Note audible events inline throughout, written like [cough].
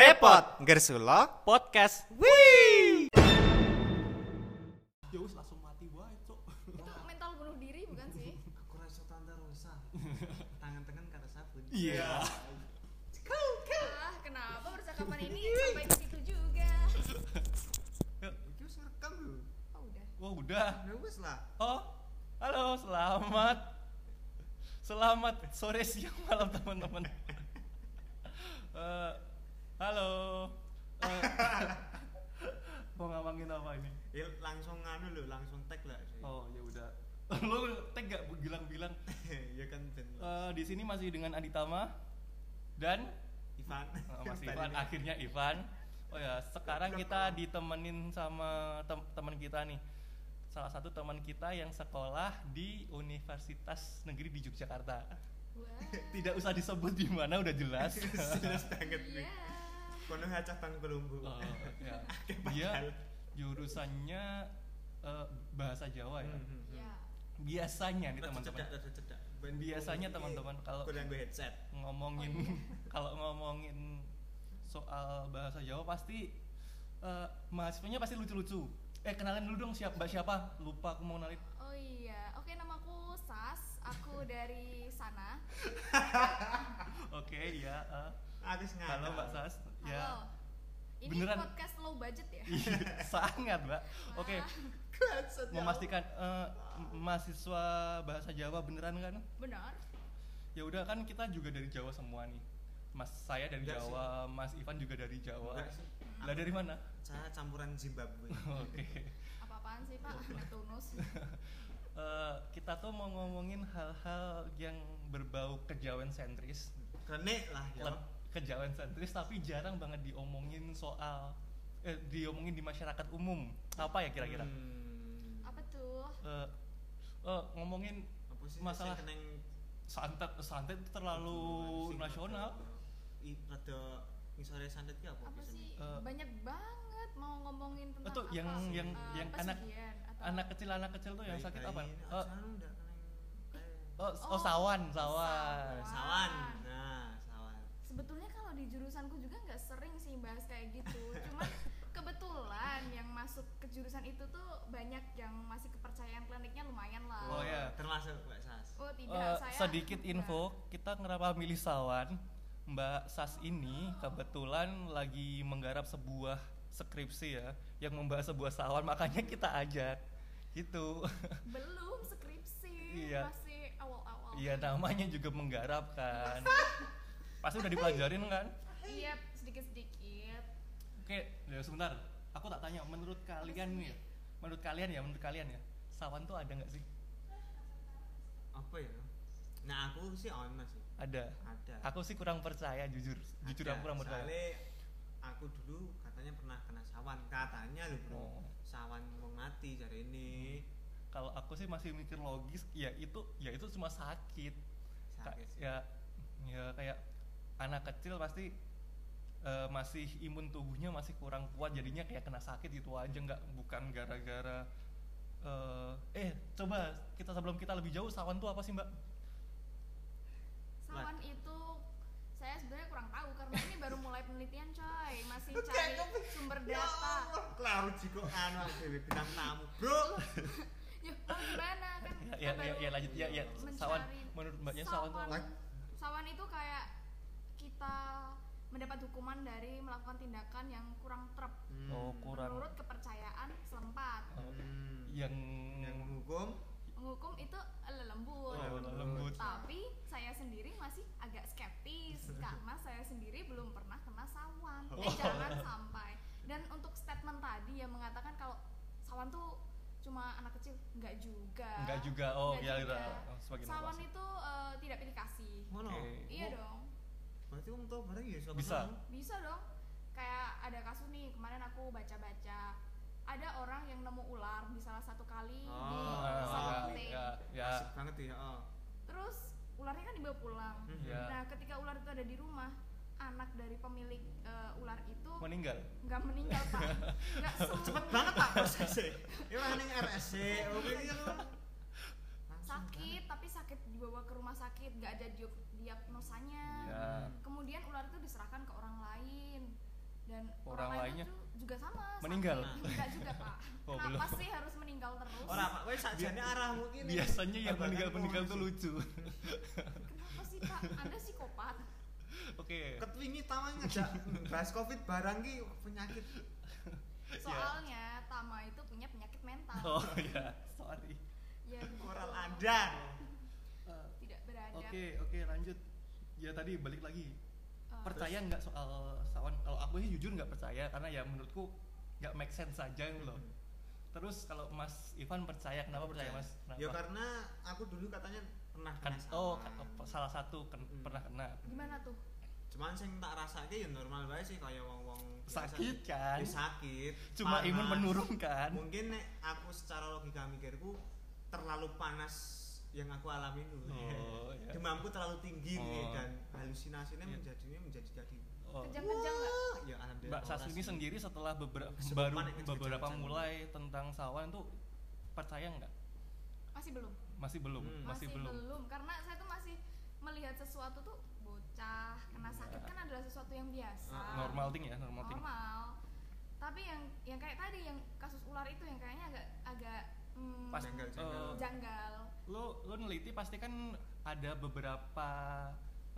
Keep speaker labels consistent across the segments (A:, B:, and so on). A: Depot Garis Sulok
B: podcast
A: Wih
C: ya wis langsung mati wae cok
D: itu mental bunuh diri bukan sih
E: aku rasa tanda
B: [laughs]
E: rusak tangan tangan kata sabun
C: iya
D: ah kenapa percakapan ini sampai ke situ juga
E: itu rekam lu
D: oh udah
C: wah udah
E: ya wis lah
B: oh halo selamat selamat sore siang malam teman-teman Eh, halo Eh, [laughs] mau ngomongin apa ini
E: ya langsung anu lu langsung tag lah [laughs] sih
B: oh ya udah lo tag gak bilang-bilang
E: ya kan Ben lah.
B: Eh, di sini masih dengan Aditama dan
E: Ivan
B: Eh,
E: [laughs]
B: Mas
E: Ben
B: Ivan
E: ini.
B: akhirnya Ivan oh ya sekarang kita ditemenin sama tem teman kita nih salah satu teman kita yang sekolah di Universitas Negeri di [laughs] Yogyakarta
D: wah
B: tidak usah disebut di mana udah jelas
E: jelas banget nih
D: iya
E: kono hacah tang kelumbu
B: [laughs]
E: [laughs]
B: Oh, ya.
E: Akeh
B: dia
E: padahal.
B: jurusannya eh, bahasa Jawa ya
E: Mhm.
D: iya
B: biasanya nih
E: Rada
B: teman-teman
E: cedak, rada cedak. Ben-
B: biasanya
E: oh,
B: teman-teman kalau
E: kurang gue headset
B: ngomongin
D: Oh, iya.
B: [laughs] kalau ngomongin soal bahasa Jawa pasti eh, mahasiswanya pasti lucu-lucu. Eh kenalin dulu dong siapa mbak siapa? Lupa aku mau kenalin.
D: oh iya oke namaku Sas aku dari sana
B: Oke ya. eh.
E: Aris nggak
B: Halo Mbak Sas.
D: Nah, halo ini
B: Ya. Beneran.
D: podcast low budget
B: [laughs]
D: ya Ah,
B: Iya, sangat Mbak. Oke memastikan eh, m- mahasiswa bahasa Jawa beneran kan?
D: benar
B: Ya udah kan kita juga dari Jawa semua nih. Mas saya dari
E: Enggak
D: Iya
E: sih.
B: Jawa, Mas Ivan juga dari Jawa.
E: Enggak sih.
B: Lah dari mana?
E: saya campuran
B: [laughs]
E: Zimbabwe
B: Oke.
D: apa apaan sih pak Neptunus
B: Eh, kita tuh mau ngomongin hal-hal yang berbau kejawen sentris
E: kene lah ya
B: Leb- kejawen sentris tapi jarang banget diomongin soal eh, diomongin di masyarakat umum apa ya kira-kira
E: Hmm.
D: apa tuh
B: Eh, eh, ngomongin
E: apa sih
B: Masalah-
E: sing keneng kan,
B: santet santet itu terlalu
E: Sing
B: nasional
E: rada- i rada ngisore santet ki apa
D: apa
E: biasanya?
D: sih
B: Eh.
D: banyak banget mau ngomongin tentang
B: Itu
D: apa
B: yang-
D: sih,
B: yang-
D: eh,
B: yang anak-
D: pesugihan atau-
B: anak kecil anak kecil tuh yang
E: Bayi-
B: sakit
E: bayi
B: apa
E: ini
B: Eh,
E: acan ndak keneng kayak-
B: oh, oh, sawan sawan
D: sawan.
E: sawan nah sawan
D: Sebetulnya kalau di jurusanku juga nggak sering sih bahas kayak
B: [laughs]
D: gitu. Cuman kebetulan yang masuk ke jurusan itu tuh banyak yang masih kepercayaan kliniknya lumayan lah.
B: Oh, iya.
E: termasuk Mbak Sas
D: Oh, tidak,
B: Eh,
D: saya
B: sedikit
D: enggak.
B: info, kita kenapa milih Sawan? Mbak Sas ini kebetulan lagi menggarap sebuah skripsi ya, yang membahas sebuah Sawan, makanya kita ajak. Gitu.
D: Oh. Belum skripsi,
B: Iya.
D: masih awal-awal.
B: Iya, namanya juga menggarap kan. Pasti udah dipelajarin kan?
D: Iya, sedikit-sedikit.
B: Oke, ya sebentar. Aku tak tanya, menurut kalian nih, ya, menurut kalian ya, menurut kalian ya, Sawan tuh ada nggak sih?
E: apa ya nah aku sih ono sih
B: Ada.
E: ada
B: Aku sih kurang percaya jujur, jujur
E: Ada.
B: aku kurang percaya.
E: Soalnya aku dulu katanya pernah kena sawan katanya lu bro
B: Oh.
E: sawan mau mati cari ini
B: kalau aku sih masih mikir logis ya itu ya itu cuma sakit, Ka-
E: sakit sih.
B: ya ya kayak anak kecil pasti eh, masih imun tubuhnya masih kurang kuat jadinya kayak kena sakit gitu aja nggak bukan gara-gara eh, eh coba kita sebelum kita lebih jauh sawan tuh apa sih mbak
D: Sawan
B: Nah.
D: itu saya sebenarnya kurang tahu karena ini baru mulai penelitian, coy. Masih cari sumber
E: Ya
D: data.
E: Allah, Lalu jiko anu aku dewe bintang tamu, bro.
D: Yuk, mau Ya, gimana kan?
B: ya
D: kita
B: ya
D: baru-
B: ya lanjut ya ya
D: mencari
B: sawan menurut mbaknya sawan tuh apa?
D: sawan, sawan itu kayak kita mendapat hukuman dari melakukan tindakan yang kurang terp
E: Hmm.
B: oh kurang Iya.
D: menurut kepercayaan selempat
E: Hmm.
B: yang
E: yang menghukum
D: menghukum itu lembut
B: Oh, lembut.
D: tapi saya sendiri masih agak
B: [laughs]
D: skeptis karena saya sendiri belum pernah kena sawan eh,
B: Oh.
D: jangan sampai dan untuk statement tadi yang mengatakan kalau sawan tuh cuma anak kecil nggak juga
B: enggak juga oh
D: Nggak
B: ya
D: juga.
B: ya. Oh, Hmm. sebagai
D: sawan
B: narasi.
D: itu eh, tidak pilih kasih
E: ngono.
B: Oke.
D: iya
E: Oh,
D: dong
E: Berarti wong tua bareng ya iso
B: Eh. Bisa.
E: kenal.
D: bisa dong kayak ada kasus nih kemarin aku baca-baca ada orang yang nemu ular di salah satu kali di
E: Oh, iya,
B: Ah,
D: sawah
B: ya,
D: putih
B: ya, ya.
E: Asik banget ya. Oh.
D: terus ularnya kan dibawa pulang
E: Hmm.
B: Ya.
D: nah ketika ular itu ada di rumah anak dari pemilik eh, ular itu
B: meninggal
D: nggak meninggal pak nggak sembuh
E: [laughs] Cepet banget Pak prosesnya. Ini mah ning RSC. Oke iki lho. Langsung
D: sakit tapi sakit dibawa ke rumah sakit
E: Iya.
D: nggak ada diag- diagnosanya
B: ya
D: kemudian ular itu diserahkan ke orang lain juga sama. sakit
B: Meninggal?
D: Juga juga pak.
B: [laughs] Oh,
D: Kenapa
B: belum.
D: sih harus meninggal terus?
E: Ora Pak, kowe sakjane arahmu ki. nih.
B: Biasanya yang
E: Babakan
B: meninggal-meninggal tuh
E: wong sih.
B: lucu.
D: Kenapa sih pak? Anda psikopat.
B: Oke.
E: Ketwingi tawang ngejak bahas Covid barang ki penyakit.
D: Soalnya Tama itu punya penyakit mental.
B: [laughs] Oh ya, sorry.
D: Ya gitu.
E: Moral Anda.
B: Eh,
D: Tidak beradab.
B: Oke, oke lanjut. Ya tadi balik lagi.
D: Eh,
B: Percaya nggak soal sawan? Kalau aku sih jujur nggak percaya karena ya menurutku nggak make sense saja gitu loh.
E: Hmm.
B: Terus kalau Mas Ivan percaya, kenapa percaya Mas? Kenapa?
E: Ya karena aku dulu katanya pernah
B: Kan-
E: kena
B: oh,
E: sawan.
B: kan- salah satu kan
E: Hmm.
B: pernah kena.
D: Gimana tuh?
E: Cuman sing tak rasake ya normal bae sih kaya wong-wong biasa.
B: Sakit
E: Ya,
B: kan?
E: sakit.
B: Cuma
E: panas.
B: imun menurun kan?
E: Mungkin nek aku secara logika mikirku terlalu panas yang aku alami dulu. [laughs]
B: Oh, ya.
E: Demamku terlalu tinggi nih,
B: Oh.
E: dan halusinasinya
B: Iya.
E: menjadinya menjadi jadi. [laughs]
B: Oh.
D: Kejang-kejang nggak?
E: Ya alhamdulillah.
B: Mbak Sasuni
E: makasih.
B: sendiri setelah beberapa
E: Kesurupan
B: baru
E: yang kejang-kejang.
B: beberapa mulai tentang sawan tuh percaya nggak?
D: Masih belum.
B: Masih belum,
E: Hmm.
B: masih, belum.
D: Karena saya tuh masih melihat sesuatu tuh bocah kena sakit
B: Ya.
D: kan adalah sesuatu yang biasa.
E: Ah,
B: Normal thing ya, normal thing.
D: Normal. Tapi yang yang kayak tadi yang kasus ular itu yang kayaknya agak agak mm,
B: Pas-
E: Janggal,
B: eh,
E: janggal.
D: janggal.
B: lo lo neliti pasti kan ada beberapa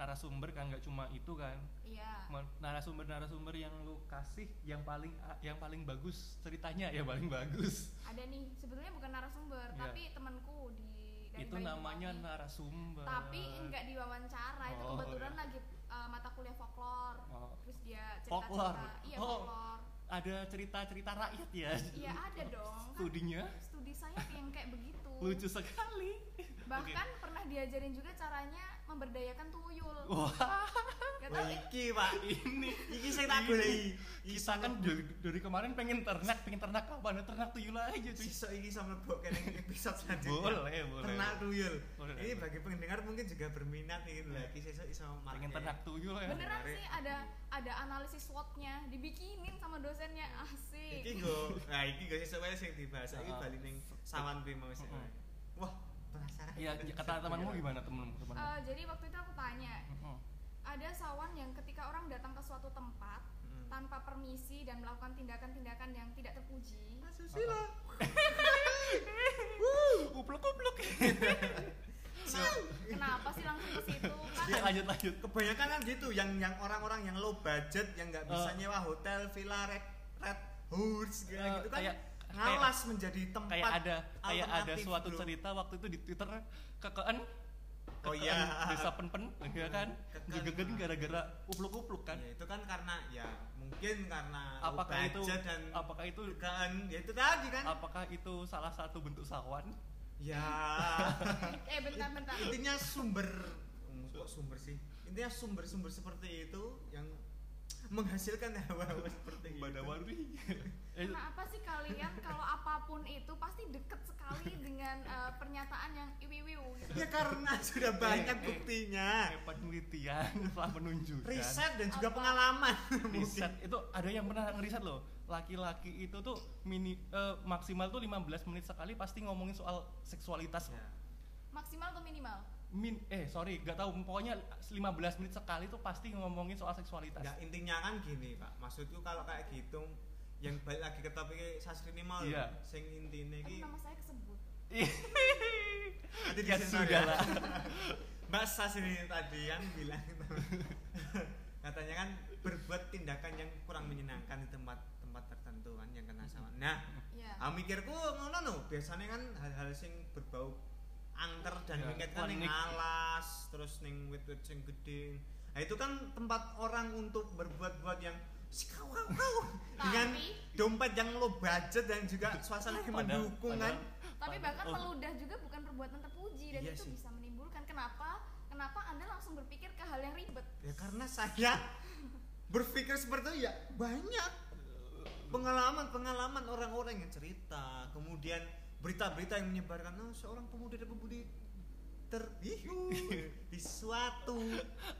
B: narasumber kan nggak cuma itu kan
D: Iya.
B: narasumber narasumber yang lo kasih yang paling ah, yang paling bagus ceritanya ya [laughs] paling bagus
D: Ada nih, sebetulnya bukan narasumber,
B: Iya.
D: tapi temanku di dari
B: itu
D: Banyuwangi.
B: namanya narasumber
D: Tapi enggak diwawancara, itu
B: Oh,
D: kebetulan
B: iya.
D: lagi eh, mata kuliah folklor.
B: Oh,
D: Terus dia cerita-cerita.
B: Folklor?
D: Iya,
B: Oh.
D: folklor.
B: ada cerita cerita rakyat ya
D: Iya, ada dong. Kan
B: studinya
D: studi saya yang kayak begitu.
B: lucu sekali
D: Bahkan pernah diajarin juga caranya memberdayakan tuyul.
B: wah
D: [laughs] Gak
E: Wah,
D: tau eh,
E: iki
B: [laughs]
E: Pak.
B: ini
E: Iki sing tak goleki.
B: kita kan dari, dari kemarin pengen ternak pengen ternak kapan ternak tuyul aja cuy
E: sisa iki sama lebok kene episode selanjutnya.
B: boleh boleh
E: Ternak tuyul.
B: Boleh.
E: Ini bagi pendengar mungkin juga berminat nih
B: Iya.
E: lagi sesuk iso
B: pengen
E: market.
B: ternak tuyul ya
D: beneran
E: menarik.
D: sih ada ada analisis SWOT-nya dibikinin sama dosennya asik.
E: Iki go, nah iki go sesuk wae sing dibahas iki
B: Ah.
E: bali ning sawan kuwi mau sesuk
B: Mm-mm.
E: wae. Wah, penasaran.
B: Iya, j- kata temanmu gimana temen teman?
D: Eh, jadi waktu itu aku tanya, ada sawan yang ketika orang datang ke suatu tempat
E: Mm.
D: tanpa permisi dan melakukan tindakan-tindakan yang tidak terpuji.
E: Mas Susilo.
B: Upluk upluk.
D: Kenapa sih langsung ke situ? Kan
B: Ya, lanjut lanjut.
E: Kebanyakan kan gitu yang yang orang-orang yang low budget yang nggak bisa
B: Eh.
E: nyewa hotel, villa, red red horse gitu,
B: Eh,
E: gitu kan.
B: kayak-
E: ngalas menjadi tempat
B: Kayak ada kayak ada
E: alternatif,
B: suatu
E: bro.
B: cerita waktu itu di Twitter kekean
E: Oh
B: kekean
E: iya.
B: desa penpen ya kan
E: Kekean.
B: gegegen gara-gara upluk upluk kan
E: Ya, itu kan karena ya mungkin karena
B: apakah
E: low
B: itu
E: budget dan
B: apakah itu
E: kan ya itu tadi kan
B: apakah itu salah satu bentuk sawan
E: ya
D: eh bentar-bentar.
E: intinya sumber kok sumber sih intinya sumber-sumber seperti itu yang menghasilkan hawa-hawa seperti itu
B: badawari Eh,
E: Nah.
D: Kenapa sih kalian kalau apapun itu pasti deket sekali dengan eh, pernyataan yang iwiwiu gitu.
E: ya karena sudah banyak
B: eh.
E: buktinya
B: penelitian [laughs] telah menunjukkan
E: riset dan juga
D: Apa?
E: pengalaman [laughs]
B: riset itu ada yang pernah ngeriset loh laki-laki itu tuh mini eh, maksimal tuh 15 menit sekali pasti ngomongin soal seksualitas
E: Ya.
D: Maksimal atau minimal?
B: min eh sorry nggak tahu pokoknya 15 menit sekali tuh pasti ngomongin soal seksualitas [laughs]
E: Nggak, intinya kan gini pak maksudku kalau kayak gitu yang balik lagi ke topik sasri ini mau
B: Iya.
E: sing intine iki
D: Aduh, nama saya kesebut.
E: Nanti
B: ya
E: disensor
B: sudah lah
E: [laughs] Mbak Sas ini tadi kan bilang [laughs] katanya kan berbuat tindakan yang kurang menyenangkan di tempat-tempat tertentu kan yang kena sama.
B: Mm-hmm.
E: Nah,
D: Iya.
E: aku mikirku ngono no, biasanya kan hal-hal sing berbau angker dan
B: Ya,
E: mengingatkan kan ning
B: klinik.
E: alas, terus ning wit-wit sing gede. Nah, itu kan tempat orang untuk berbuat-buat yang sikau kau kau dengan
D: Tapi-
E: dompet yang low budget dan juga suasana yang
B: Padahal-
E: mendukung kan.
B: padahal-
D: Tapi
B: padahal-
D: bahkan
B: oh,
D: meludah juga bukan perbuatan terpuji dan
E: Iya
D: itu
E: sih.
D: bisa menimbulkan kenapa? Kenapa Anda langsung berpikir ke hal yang ribet?
E: Ya karena saya berpikir seperti itu ya banyak pengalaman-pengalaman orang-orang yang cerita, kemudian berita-berita yang menyebarkan oh, seorang pemuda dan pemudi terbihu di suatu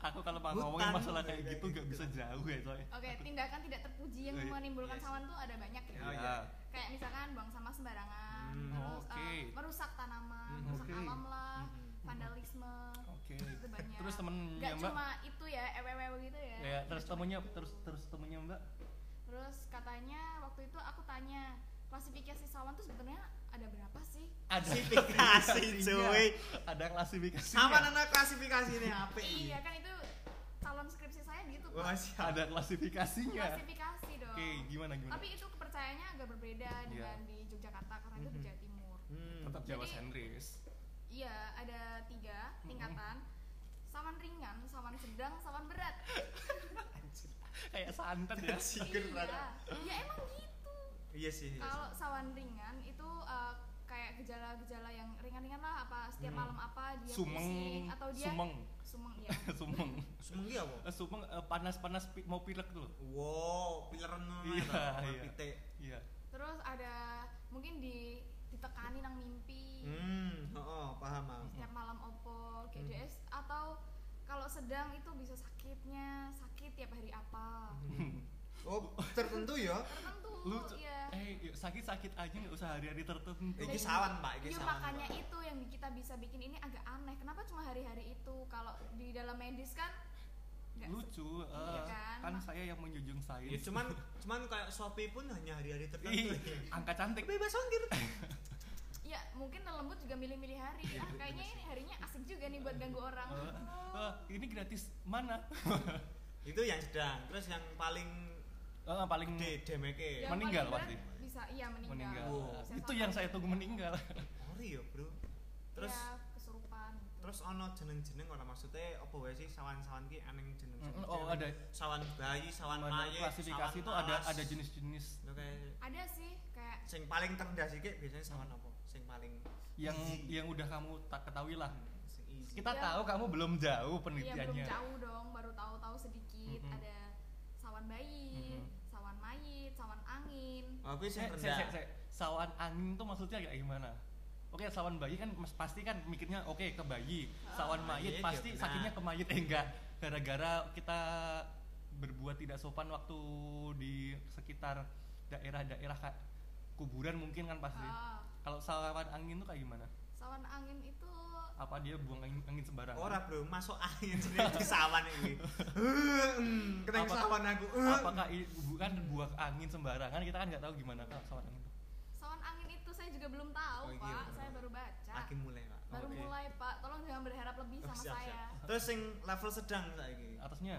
B: aku kalau mau
E: Hutan. Iya,
B: ngomongin masalah kayak gitu nggak bisa jauh ya soalnya
D: Oke, tindakan tidak terpuji yang
B: Iya.
E: Iya
D: menimbulkan
E: sih.
D: sawan tuh ada banyak ya.
E: Oh, iya.
D: Kayak misalkan buang sampah sembarangan,
E: Hmm.
D: terus
B: Oke.
D: eh, merusak tanaman,
E: Hmm,
D: merusak
B: oke.
D: alam lah,
E: Hmm.
D: vandalisme.
B: oke
D: Itu banyak.
B: terus temennya
D: Gak
B: mbak
D: cuma itu ya, ewewe gitu ya.
B: ya terus
D: Nggak cuma
B: temennya
D: itu.
E: [laughs]
B: terus terus temennya mbak
D: Terus kata ceritanya waktu itu aku tanya klasifikasi sawan tuh sebenarnya ada berapa sih?
B: ada
E: Klasifikasi,
B: [laughs]
E: cuy.
B: Iya. ada klasifikasi
E: Sama nana klasifikasi ini apa ini?
D: Iya kan itu calon skripsi saya gitu
E: Wah,
D: Pak.
E: siap.
B: ada klasifikasinya
D: Klasifikasi dong.
B: iya. oke gimana gimana
D: Tapi itu kepercayaannya agak berbeda dengan di Yogyakarta karena itu di
E: Mhm.
D: Jawa Timur.
E: Hmm. [laughs]
B: tetap Jawa
D: Jadi-
B: sentris
D: Iya, ada tiga tingkatan. Sawan ringan, sawan sedang, sawan berat.
B: kayak santet ya
E: Sikir
D: iya.
E: rata.
D: Ya emang gitu.
E: Iya sih. iya
D: Kalau sawan ringan itu eh, kayak gejala-gejala yang ringan-ringan lah apa setiap
E: Hmm.
D: malam apa dia
B: [laughs] sumeng
D: pusing Iya atau dia
B: sumeng [laughs]
D: sumeng ya.
B: sumeng
E: sih. Semanggi apa?
B: [laughs] Eh, sumeng eh, panas-panas pi- mau pilek tuh loh
E: Wow, pilar nana
B: Iya,
E: tau,
B: iya.
E: pite.
B: iya
D: Terus ada mungkin di ditekani nang mimpi.
E: Hmm, oh, oh, paham paham.
D: setiap malam opo GDS
B: Hmm.
D: atau kalau sedang itu bisa sakitnya sakit tiap hari apa
E: Hmm. Oh, tertentu ya.
D: tertentu
B: lu cu-
D: ya
B: eh yuk, sakit-sakit aja nggak usah hari-hari tertentu
E: Iki sawan, Pak, iki
D: Ya
E: sawan.
D: makanya
E: Pak.
D: itu yang kita bisa bikin ini agak aneh. Kenapa cuma hari-hari itu? Kalau di dalam medis kan nggak se-
B: lucu eh,
D: Iya kan?
B: kan saya yang menjunjung sains
E: Ya cuman cuman kayak Shopee pun hanya hari-hari
B: Ih,
E: tertentu. ya.
B: angka cantik
E: Bebas ongkir.
D: Ya mungkin lembut juga milih-milih hari.
E: Iya,
D: Ah,
E: bener
D: kayaknya
E: sih.
D: ini harinya asik juga nih buat ganggu orang. Oh,
B: Eh, eh, ini gratis mana
E: Itu yang sedang. Terus yang paling
B: Eh, paling
E: gede demeke.
D: Yang
B: meninggal
D: ya, paling
B: pasti.
D: berat Bisa iya meninggal.
B: meninggal
E: Wow.
D: Bisa
B: itu
D: sampai-
B: yang saya tunggu meninggal
E: Ori ya, Bro. Terus
D: ya, kesurupan gitu.
E: terus ono jeneng-jeneng ora maksudnya apa wae sih sawan-sawan ki aneh jeneng.
B: Mm, oh, ada.
E: sawan bayi, sawan
B: Mana
E: mayit,
B: klasifikasi
E: sawan
B: itu ada
E: alas.
B: ada jenis-jenis
E: Itu kayak
D: Ada sih kayak
E: sing paling terendah sih Ki, biasanya sawan apa? Sing paling
B: yang
E: easy.
B: yang udah kamu tak ketahui lah
E: sing easy.
B: Ah. kita
D: Iya.
B: tahu kamu belum jauh
D: Iya belum
B: penelitiannya
D: jauh dong, baru tahu-tahu sedikit
B: Mm-mm.
D: ada sawan bayi,
B: Mm-mm.
D: sawan mayit, sawan angin.
E: Oh, kuwi sing
B: saya, saya, saya,
E: rendah.
B: saya- sawan angin tuh maksudnya kayak gimana oke sawan bayi kan mas- pasti kan mikirnya oke ke bayi sawan
E: Mayit, ya
B: mayit pasti
E: benar.
B: sakitnya ke mayit eh, enggak gara-gara kita berbuat tidak sopan waktu di sekitar daerah-daerah ka- kuburan mungkin kan pasti
D: Ah,
B: kalau sawan angin tuh kayak gimana
D: sawan angin itu
B: apa dia buang angin, angin sembarangan
E: Ora bro, masuk angin jadi sawan
B: [laughs]
E: iki. Eh, mm, Kena yang
B: Apakah-
E: sawan aku. Eh,
B: apakah i- bukan buang angin sembarangan kita kan nggak tahu gimana kalau sawan angin tuh.
D: sawan angin itu saya juga belum tahu,
E: Oh, iya,
D: Pak.
E: benar.
D: Saya baru baca.
E: Lagi mulai pak.
D: Baru
B: Oke.
D: mulai, Pak. Tolong jangan berharap lebih
E: Oh,
D: sama
E: siap,
D: saya.
E: siap. Terus yang level sedang saiki.
B: atasnya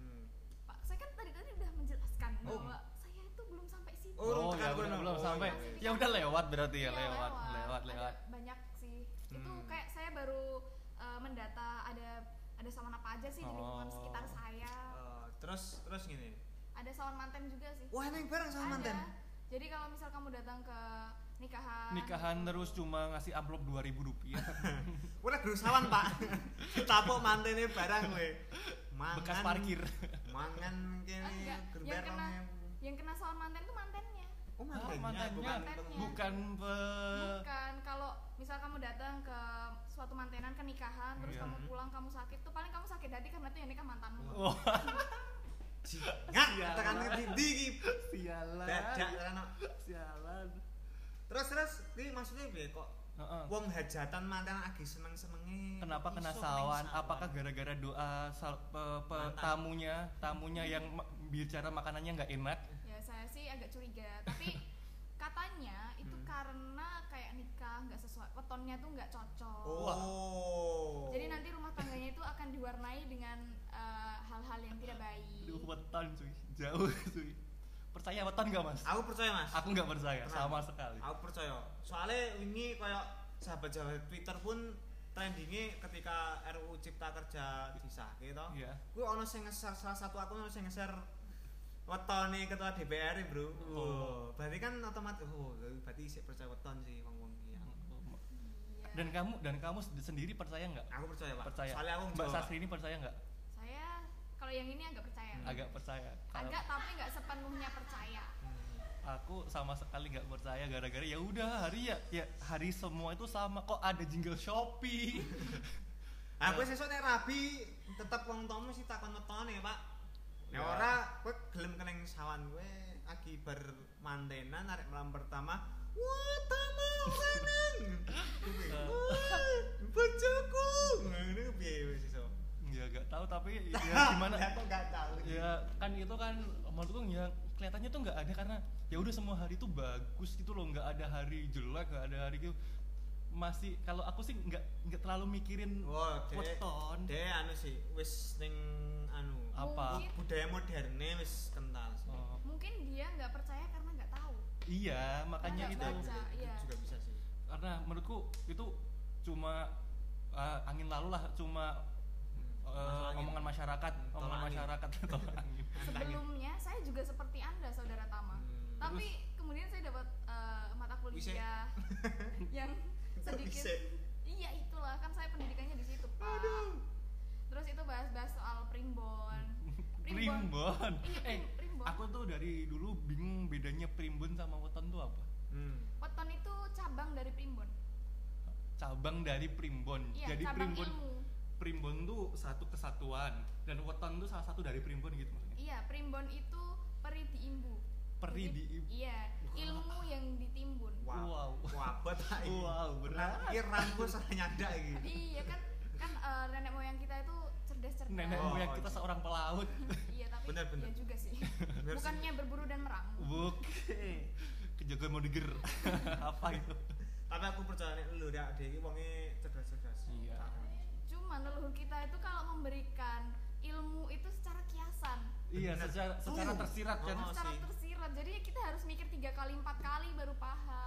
E: Hmm.
D: Pak, saya kan tadi tadi udah menjelaskan
B: Oh.
D: bahwa saya itu belum sampai situ.
E: Oh,
B: oh,
E: tekan
B: ya belum,
E: kono.
B: belum
E: Oh,
B: sampai
E: iya,
D: iya.
B: ya udah lewat berarti ya,
D: Iya,
B: lewat lewat
D: Ada
B: lewat
D: Banyak sih. Itu
E: Hmm.
D: kayak saya baru eh, mendata ada ada sawan apa aja sih di lingkungan
B: Oh.
D: sekitar saya.
E: Eh, terus terus gini.
D: ada sawan manten juga sih
E: Wah neng bareng sama manten.
D: Ada. jadi kalau misal kamu datang ke nikahan
B: nikahan terus cuma ngasih amplop
E: [laughs]
B: 2000 rupiah
E: Iya. Ora guru sawan pak. [laughs] Tapok mantennya barang kowe. Mangan.
B: bekas parkir
E: Mangan
D: Ah,
E: kene
D: enggak.
E: guru
D: yang
E: bareng.
D: kena yang kena sawan manten tuh mantennya
E: Oh
B: Ah,
E: mantennya,
B: mantannya.
E: bukan
D: Mantannya.
E: pengemudi.
B: bukan pe-
D: bukan kalau misal kamu datang ke suatu mantenan ke nikahan terus
B: Iya.
D: kamu pulang kamu sakit tuh paling kamu sakit hati karena tuh yang nikah mantanmu
B: Wah,
E: Nggak, tekan ke dindi iki.
B: sialan
E: Dadak tekan.
B: sialan
E: Terus terus iki maksudnya piye kok
B: Heeh.
E: Wong hajatan mantan lagi seneng-senenge.
B: Kenapa kena
E: Iso
B: sawan?
E: sawan.
B: Apakah gitu? gara-gara doa sal- pe- pe-
E: Mantan.
B: tamunya, tamunya yang ma- bicara makanannya nggak enak?
E: Iya.
D: ya saya sih agak curiga
B: [laughs]
D: tapi katanya itu
E: Hmm.
D: karena kayak nikah nggak sesuai wetonnya tuh nggak cocok
E: Oh.
D: jadi nanti rumah tangganya itu akan diwarnai dengan eh, hal-hal yang tidak baik
B: Aduh, weton cuy, jauh [laughs] cuy. Percaya weton nggak mas?
E: aku percaya Mas.
B: Aku nggak percaya,
E: Kenapa?
B: sama sekali.
E: Aku percaya. Soalnya wingi kayak sahabat-sahabat Twitter pun trendingnya ketika RUU Cipta Kerja disahke gitu.
B: Iya.
E: Gue ono sing nge-share salah satu aku ono sing nge-share wetone ketua DPR ya, Bro. Oh, berarti kan otomatis oh, berarti sik percaya weton sih wong-wong iki.
B: Hmm.
D: Iya.
B: Dan kamu dan kamu sed- sendiri percaya nggak?
E: Aku percaya, Pak.
B: Percaya.
E: Soalnya aku Hmm.
B: Mbak
E: Jawa, Pak.
B: Sastri ini percaya nggak?
D: saya kalau yang ini agak percaya
E: Hmm.
B: Agak percaya. Kalau
D: agak tapi nggak sepenuhnya percaya
E: Hmm.
B: Aku sama sekali nggak percaya gara-gara ya udah hari ya ya hari semua itu sama kok ada jingle Shopee. [laughs]
E: Aku sesuk Ah, nek rabi tetep wong tomu sih takon wetone, Pak. Nek
B: Ya.
E: ora kowe gelem keneng sawan kowe lagi bermantenan arek malam pertama. Wetama seneng. Bojoku. Ngene piye wis iso.
B: ya gak tahu tapi ya
E: [laughs]
B: gimana
E: Ya, aku nggak tahu.
B: ya kan itu kan menurutku ya kelihatannya tuh nggak ada karena ya udah semua hari tuh bagus gitu loh nggak ada hari jelek nggak ada hari gitu masih kalau aku sih nggak nggak terlalu mikirin
E: Wah, dek,
B: weton
E: dek anu sih, wis ning anu
B: apa
D: Mungkin-
E: budaya moderne wis kental sih.
B: Ah. Oh,
D: mungkin dia nggak percaya karena nggak
B: [laughs]
D: tahu
B: iya makanya
D: Nggak
B: itu
E: Juga-
D: baca,
E: juga-
D: iya.
E: juga bisa sih.
B: karena menurutku itu cuma eh, angin lalu lah cuma eh,
E: Masalah angin.
B: omongan masyarakat
E: Tolak
B: omongan
E: angin.
B: masyarakat tolak [laughs] angin
D: sebelumnya saya juga seperti anda saudara Tama
E: Hmm.
D: tapi kemudian saya dapat eh, mata
E: Wise.
B: [laughs]
D: kuliah yang sedikit
E: Wise.
D: iya itulah kan saya pendidikannya di situ pak terus itu bahas-bahas soal
B: [laughs]
D: primbon primbon
B: primbon
D: Iya,
B: eh
D: prim- primbon.
B: aku tuh dari dulu bingung bedanya primbon sama weton tuh apa
E: Hmm.
D: weton itu cabang dari primbon
B: cabang dari primbon
D: iya
B: jadi
D: cabang
B: primbon
D: ilmu
B: primbon tuh satu kesatuan dan weton tuh salah satu dari primbon gitu maksudnya
D: iya primbon itu peri diimbu
B: peri
D: Jadi,
B: di
D: iya ilmu yang ditimbun
B: Wow.
E: Wow. Wabot ta iki.
B: wow benar
E: Iki rambut salah nyandak iki.
D: iya kan kan eh, nenek moyang kita itu cerdas-cerdas
B: nenek
E: Oh,
B: moyang kita
E: iya.
B: seorang pelaut
D: iya tapi
E: Benar, benar.
D: iya juga sih
E: [laughs] Benar sih.
D: bukannya berburu dan merang
B: oke kejagaan mau
E: [laughs]
B: diger apa itu
E: Tapi aku percaya nih lu dak dek iki wonge cerdas-cerdas. Nah,
B: Iya.
D: cuma leluhur kita itu kalau memberikan ilmu itu secara kiasan
B: iya
E: Benar.
B: secara secara
E: Tuh.
B: tersirat kan
E: Oh,
D: secara
E: sih.
D: tersirat jadi kita harus mikir tiga kali empat kali baru
E: [laughs]
D: paham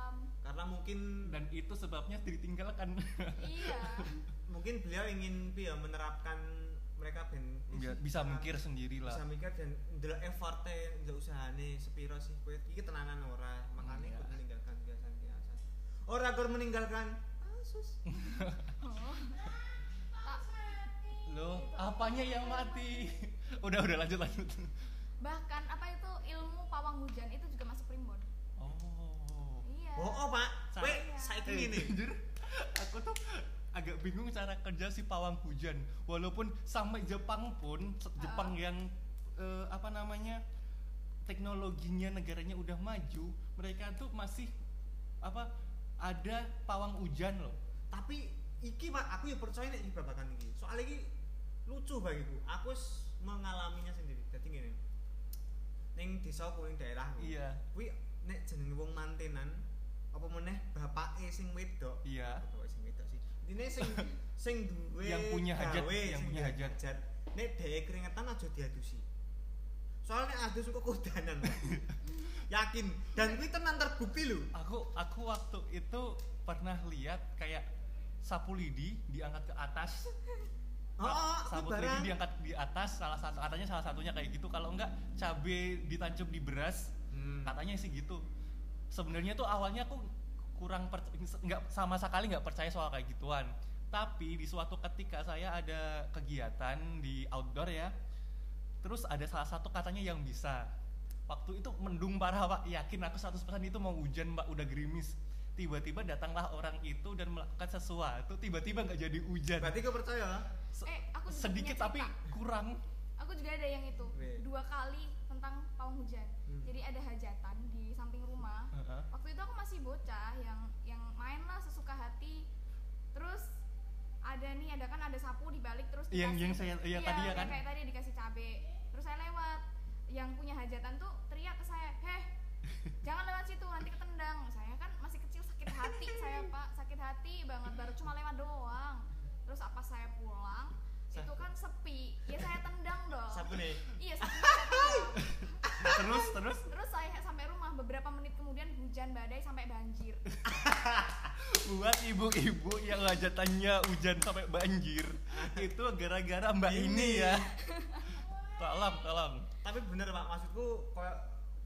E: Karena mungkin
B: dan itu sebabnya ditinggalkan
D: iya
E: mungkin beliau ingin ya menerapkan mereka ben
B: Iya,
E: kan.
B: Nah. bisa mikir sendiri
E: bisa
B: lah
E: mikir dan ndelok effortnya ndelok usahane sepiro sih kowe iki tenanan ora makane
B: Iya.
E: ikut meninggalkan kebiasaan-kebiasaan ora kur meninggalkan asus
D: oh. Tak-
B: loh
D: Oh.
B: apanya yang mati [laughs] udah udah lanjut lanjut
D: bahkan apa itu ilmu pawang hujan itu juga masuk primbon
B: oh
D: iya
E: oh, oh pak
B: Sa-
E: kowe saiki
B: Eh, [laughs]
E: ngene
B: jujur, aku tuh agak bingung cara kerja si pawang hujan. Walaupun sampai Jepang pun, se- Jepang yang eh, apa namanya teknologinya negaranya udah maju, mereka tuh masih apa ada pawang hujan loh.
E: tapi iki pak aku ya percaya nek iki babakan iki soalnya iki lucu bagiku aku wis mengalaminya sendiri dadi ngene ning desa aku ning daerah
B: Iya,
E: kuwi nek jenenge wong mantenan apa meneh bapake sing wedok
B: iya.
E: Apa bapake sing wedok sih ini
B: [laughs]
E: sing sing duwe
B: Yang punya hajat,
E: gawe,
B: yang
E: sing
B: punya
E: duwe
B: hajat.
E: nek dhek keringetan aja diadusi soalnya nek adus kok kodanan
B: [laughs]
E: Pak. yakin dan kuwi tenan terbukti lho
B: Aku aku waktu itu pernah lihat kayak sapu lidi diangkat ke atas
E: oh, oh kuwi
B: sapu
E: barang
B: lidi diangkat di atas salah satu katanya salah satunya kayak gitu kalau enggak cabe ditancap di beras
E: Hmm.
B: katanya sih gitu sebenarnya tuh awalnya aku kurang per- nggak sama sekali nggak percaya soal kayak gituan tapi di suatu ketika saya ada kegiatan di outdoor ya terus ada salah satu katanya yang bisa waktu itu mendung parah pak yakin aku 100% itu mau hujan mbak udah gerimis tiba-tiba datanglah orang itu dan melakukan sesuatu tiba-tiba nggak jadi hujan
E: berarti kau percaya
B: Se-
D: eh aku juga
B: sedikit
D: punya
B: tapi
D: cerita.
B: kurang
D: aku juga ada yang itu
E: Weh.
D: dua kali tentang pawang hujan
E: Hmm.
D: jadi ada hajatan di samping rumah
B: Heeh.
D: waktu itu aku masih bocah yang yang main lah sesuka hati terus ada nih ada kan ada sapu dibalik terus
B: Yang-
D: dikasih-
B: yang saya- iya, tadi ya
D: yang
B: kan?
D: kayak tadi dikasih cabe terus saya lewat yang punya hajatan tuh teriak ke saya
B: [laughs]
D: heh jangan lewat situ nanti ketendang saya kan masih kecil sakit hati
B: [laughs]
D: saya pak sakit hati banget baru cuma lewat doang terus apa saya pulang
E: Sa-
D: itu kan sepi ya saya tendang dong
E: sapu nih
D: iya sapu saya tendang
B: terus terus
D: terus saya sampai rumah beberapa menit kemudian hujan badai sampai banjir
B: buat ibu-ibu yang hajatannya hujan sampai banjir itu gara-gara mbak ini
E: [laughs]
B: ya kalam kalam
E: tapi bener pak maksudku koyo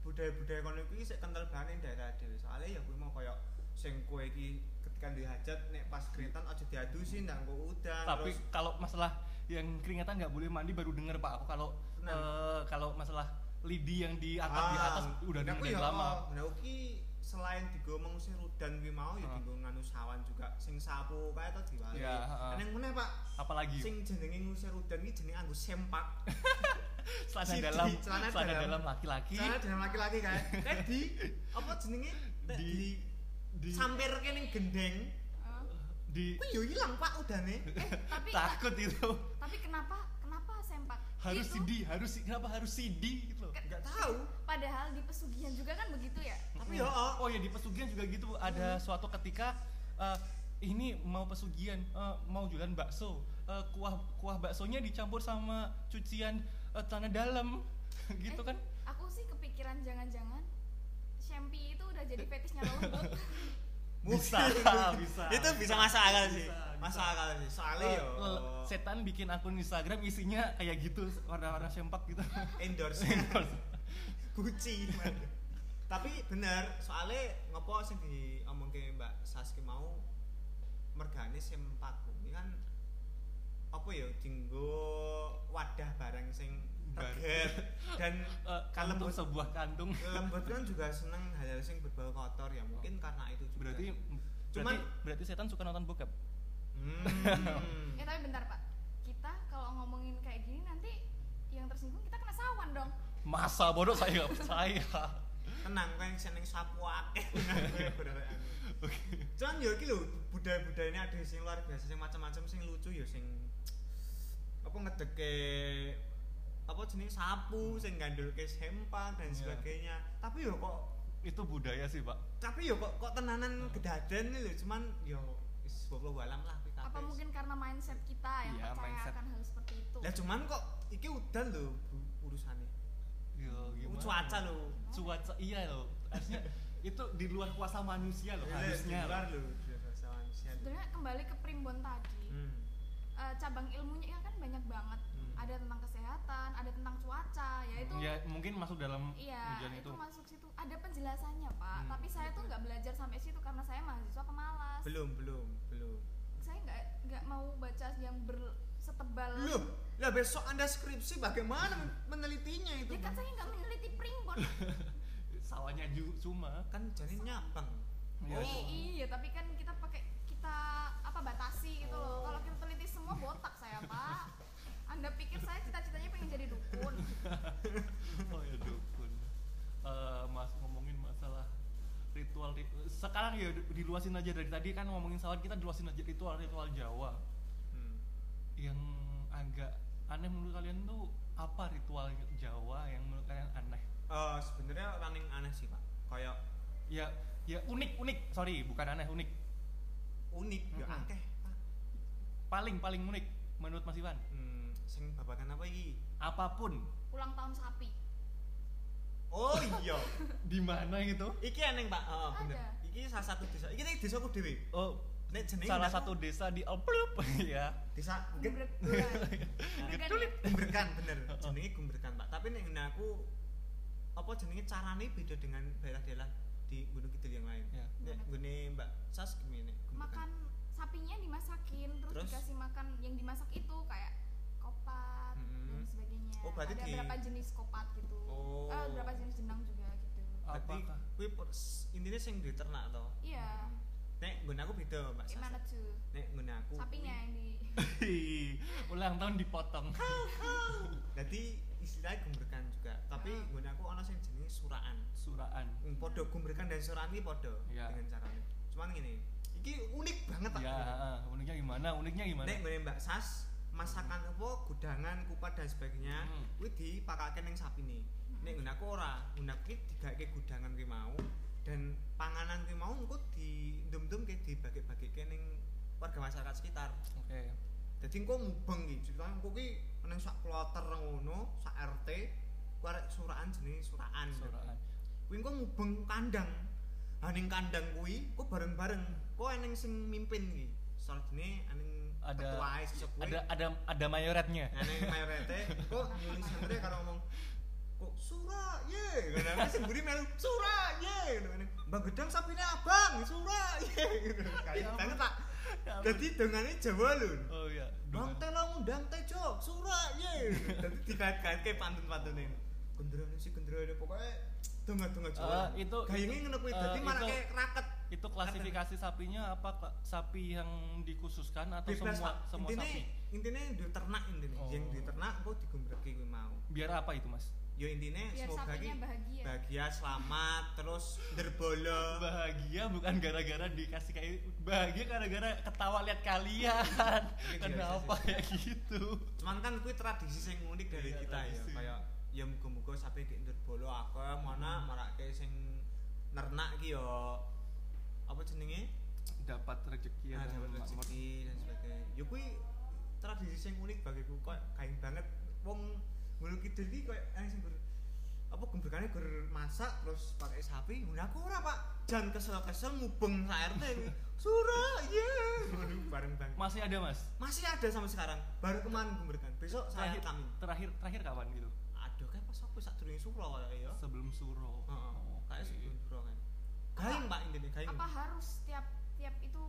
E: budaya-budaya kono iki sik kental banget ning daerah dhewe soalnya ya kuwi mau koyo sing kowe iki ketika duwe hajat nek pas kerintan aja diadusi ndang kok udan
B: tapi
E: Nah, terus
B: kalau masalah yang keringetan nggak boleh mandi baru denger pak aku kalau
E: Nah.
B: eh, kalau masalah lidi yang diangkat di atas udah
E: Ah, aku ya,
B: denger dari lama
E: oh, Nah, iki selain digomong sing rudan kuwi mau ya
B: Ah.
E: digo nganu sawan juga sing sapu kae to diwali.
B: Ya,
E: Nah,
B: ah.
E: Yang meneh Pak,
B: apalagi
E: sing jenenge ngusir rudan iki jenenge anggo sempak.
B: celana
E: CD,
B: dalam
E: celana
B: celana
E: dalam.
B: dalam laki-laki
E: Soalnya dengan laki-laki
B: [laughs]
E: kae. Tadi apa jenenge?
B: di di
E: sampir kene gendeng.
D: Eh,
B: di
E: Kuwi yo ilang Pak udane.
D: eh tapi
B: takut itu
D: tapi kenapa kenapa sempak gitu?
B: harus
D: Itu-
B: CD harus kenapa harus CD gitu loh
E: Enggak tahu.
D: padahal di pesugihan juga kan begitu ya
E: Tapi
B: Mm.
E: yo oh,
B: oh ya di pesugihan juga gitu Bu. ada
E: Hmm.
B: suatu ketika eh, ini mau pesugihan eh, mau jualan bakso Eh, kuah kuah baksonya dicampur sama cucian eh, tanah dalam [laughs] gitu
D: Eh,
B: kan
D: aku sih kepikiran jangan-jangan Shempi itu udah jadi fetishnya
B: [laughs]
D: lembut
B: bisa bisa
E: [laughs] itu bisa masuk akal sih.
B: Bisa, bisa.
E: Masuk akal sih. Soalnya
B: Eh,
E: yo
B: eh, setan bikin akun Instagram isinya kayak gitu warna-warna sempak
E: [laughs]
B: gitu [laughs]
E: endorse Gucci. man. Tapi bener, soalnya ngopo sih di Mbak Saski mau mergane sempak kuwi kan apa ya dinggo wadah barang sing
B: Bar-
E: reget dan
B: [laughs] Eh, kantung
E: kalembut
B: sebuah kantung
E: lembut kan juga seneng hal-hal sing berbau kotor ya mungkin karena itu juga
B: berarti berarti,
E: Cuman-
B: berarti setan suka nonton bokep [laughs]
E: Hmm.
D: ya tapi bentar pak kita kalau ngomongin kayak gini nanti yang tersinggung kita kena sawan dong
B: masa bodoh saya nggak
E: [laughs]
B: percaya
E: tenang kan seneng sapu akeh cuman yo iki lho budaya-budaya ini ada sing luar biasa sing macam-macam sing lucu yo sing apa ngedeke apa jenis sapu sing gandulke sempak dan
B: Iya.
E: sebagainya tapi yo kok
B: itu budaya sih pak
E: tapi yo kok kok tenanan gedaden lho cuman yo wis wallahu alam lah kuwi
D: apa
E: kabeh.
D: mungkin karena mindset kita yang
B: Nah, Iya,
D: percaya
B: mindset.
D: akan hal seperti itu
E: lah cuman kok iki udan lho bu- urusane
B: ya, gimana?
E: cuaca lho
B: cuaca iya loh harusnya
E: [laughs]
B: itu di luar kuasa manusia loh
E: Iya,
B: harusnya
E: di luar lho di luar sama manusia lho.
D: sebenarnya kembali ke primbon tadi
E: Hmm.
D: eh, cabang ilmunya kan banyak banget
E: Hmm.
D: ada tentang kesehatan ada tentang cuaca ya itu
B: ya mungkin masuk dalam
D: iya
B: hujan
D: itu,
B: itu,
D: masuk situ ada penjelasannya pak
E: Hmm.
D: tapi saya tuh nggak belajar sampai situ karena saya mahasiswa pemalas
E: belum belum belum
D: saya nggak nggak mau baca yang ber setebal
E: Loh, lah besok Anda skripsi bagaimana men- menelitinya itu?
D: ya kan saya nggak meneliti primbon
B: sawahnya ju-
E: [laughs]
B: cuma
E: Kan jadi nyabang.
B: Iya,
E: Oh.
D: I- iya tapi kan kita pakai kita apa batasi gitu loh kalau kita teliti semua botak saya pak anda pikir saya cita-citanya pengen jadi dukun
B: oh ya dukun Eh, mas ngomongin masalah ritual ri- sekarang ya di- diluasin aja dari tadi kan ngomongin sawah kita diluasin aja ritual ritual Jawa
E: Hmm.
B: yang agak aneh menurut kalian tuh apa ritual Jawa yang menurut kalian aneh
E: Eh, sebenarnya running aneh sih, Pak. Kayak
B: ya ya unik unik sorry bukan aneh unik
E: unik, ya
B: Mm-mm.
E: akeh, Pak.
B: paling paling unik menurut Mas
D: [laughs]
B: Iwan
E: Hmm, sing babakan apa iki?
B: apapun
D: ulang tahun sapi
E: Oh iya.
B: di mana gitu
E: iki eneng, Pak. Heeh, bener.
D: Ada.
E: Iki salah satu desa. Iki nek desaku dhewe.
B: oh
E: Nek jenenge
B: salah
E: desa-
B: satu desa di [laughs] Alplup ya
E: desa Gem-
B: Nah, kan
D: Gembregan
E: Gumberkan, bener. Jenenge Gumberkan, Pak. Tapi nek ngene aku apa jenenge carane beda dengan daerah-daerah di Gunung Kidul yang lain.
B: ya
E: Nek gune Mbak Sas gimana? Nek Gumberkan?
D: makan sapinya dimasakin terus,
E: Terus?
D: dikasih makan yang dimasak itu kayak kopat dan
E: Mm-mm.
D: sebagainya
E: Oh, berarti
D: ada
E: di-
D: berapa jenis kopat gitu
E: Oh.
D: Eh, berapa jenis jenang juga gitu
E: Berarti
B: apakah
E: kuwi pers- intinya sing diternak to.
D: iya
E: Nek nggon aku beda, Mbak Sas.
D: gimana tuh
E: Nek nggon aku.
D: sapinya yang
E: [laughs]
D: di
B: Hih, ulang tahun dipotong
E: Dadi istilahnya gumberkan juga. Tapi
D: Ah.
E: nggon aku ana sing jenenge suraan.
B: suraan
E: Hmm, Podo gumberkan dan suraan iki podo
B: Iya.
E: dengan carane. Cuman ngene, iki unik banget Pak.
B: ya ah, uniknya gimana uniknya gimana
E: Nek nggon Mbak Sas masakan apa gudangan, kupat dan sebagainya
B: Hmm.
E: kuwi dipakake ning sapine. Nek nggon aku ora, nggon aku iki digaweke gudangan kuwi mau dan panganan kuwi mau engko di ndum-ndum ke dibagi-bagike ning warga masyarakat sekitar.
B: oke
E: Dadi engko mubeng iki ceritane engko kuwi nang sak kloter ngono, sak RT, kuwi arek suraan jenenge suraan.
B: suraan
E: Kuwi engko mubeng kandang. Nah ning kandang kuwi engko bareng-bareng. Kok eneng sing mimpin iki. Sarjane aning
B: ada
E: ketuae sesuk kuwi.
B: ada ada ada mayoretnya
E: Nane mayorete kok nyuling santri karo ngomong kok sura ye ngono aku semburi melu sura ye ngono Mbak Gedang sapine abang sura ye ngono
B: Ya
E: kayak
B: ampun.
E: banget Pak.
B: Ya ampun.
E: Dadi dongane Jawa lho.
B: oh iya
E: Bang
B: Dengan-
E: telo ngundang tejo sura
B: [laughs]
E: ye. Dadi dikait-kaitke pantun-pantune. Gendrone si gendrone pokoke donga-donga Jawa.
B: Eh, itu-
E: gayenge
B: itu-
E: ngono kuwi
B: eh,
E: dadi
B: itu-
E: marake raket.
B: itu klasifikasi sapinya apa Kak? sapi yang dikhususkan atau
E: Bebas
B: semua
E: Pak.
B: semua
E: Intine
B: sapi
E: intine diternak intine.
B: Oh.
E: Yang diternak kok digumbreki kuwi mau.
B: biar apa itu mas
E: yo intinya
D: Biar
E: semoga
D: sapinya
E: ki
D: bahagia.
E: bahagia selamat terus derbolo
B: bahagia bukan gara-gara dikasih kayak bahagia gara-gara ketawa lihat kalian
E: Iya, iya,
B: kenapa
E: iya.
B: kayak gitu
E: cuman kan kuwi tradisi sing unik dari
B: Iya,
E: kita ya
B: tradisi.
E: kayak ya muga-muga sampe di derbolo aku mana
B: Hmm.
E: marake sing nernak ki yo apa jenenge
B: dapat rezeki
E: ya,
B: ya
E: ada rezeki dan sebagainya ya kuwi tradisi sing unik bagiku kok kain banget wong ngono kidul iki koyo ana sing gur apa gembrukane gur masak terus pakai sapi ngono aku ora Pak jan kesel-kesel mubeng sak RT kuwi. surah ye ngono bareng banget
B: masih ada mas
E: masih ada sampai sekarang baru kemarin gembrakan besok saya
B: terakhir
E: kami
B: terakhir terakhir kapan gitu
E: aduh kan pas aku sak durunge suro kaya ya
B: sebelum suro Iya.
E: heeh
B: Oke.
E: kayak sebelum suro kan gaing Pak intine gaing
D: apa harus tiap tiap itu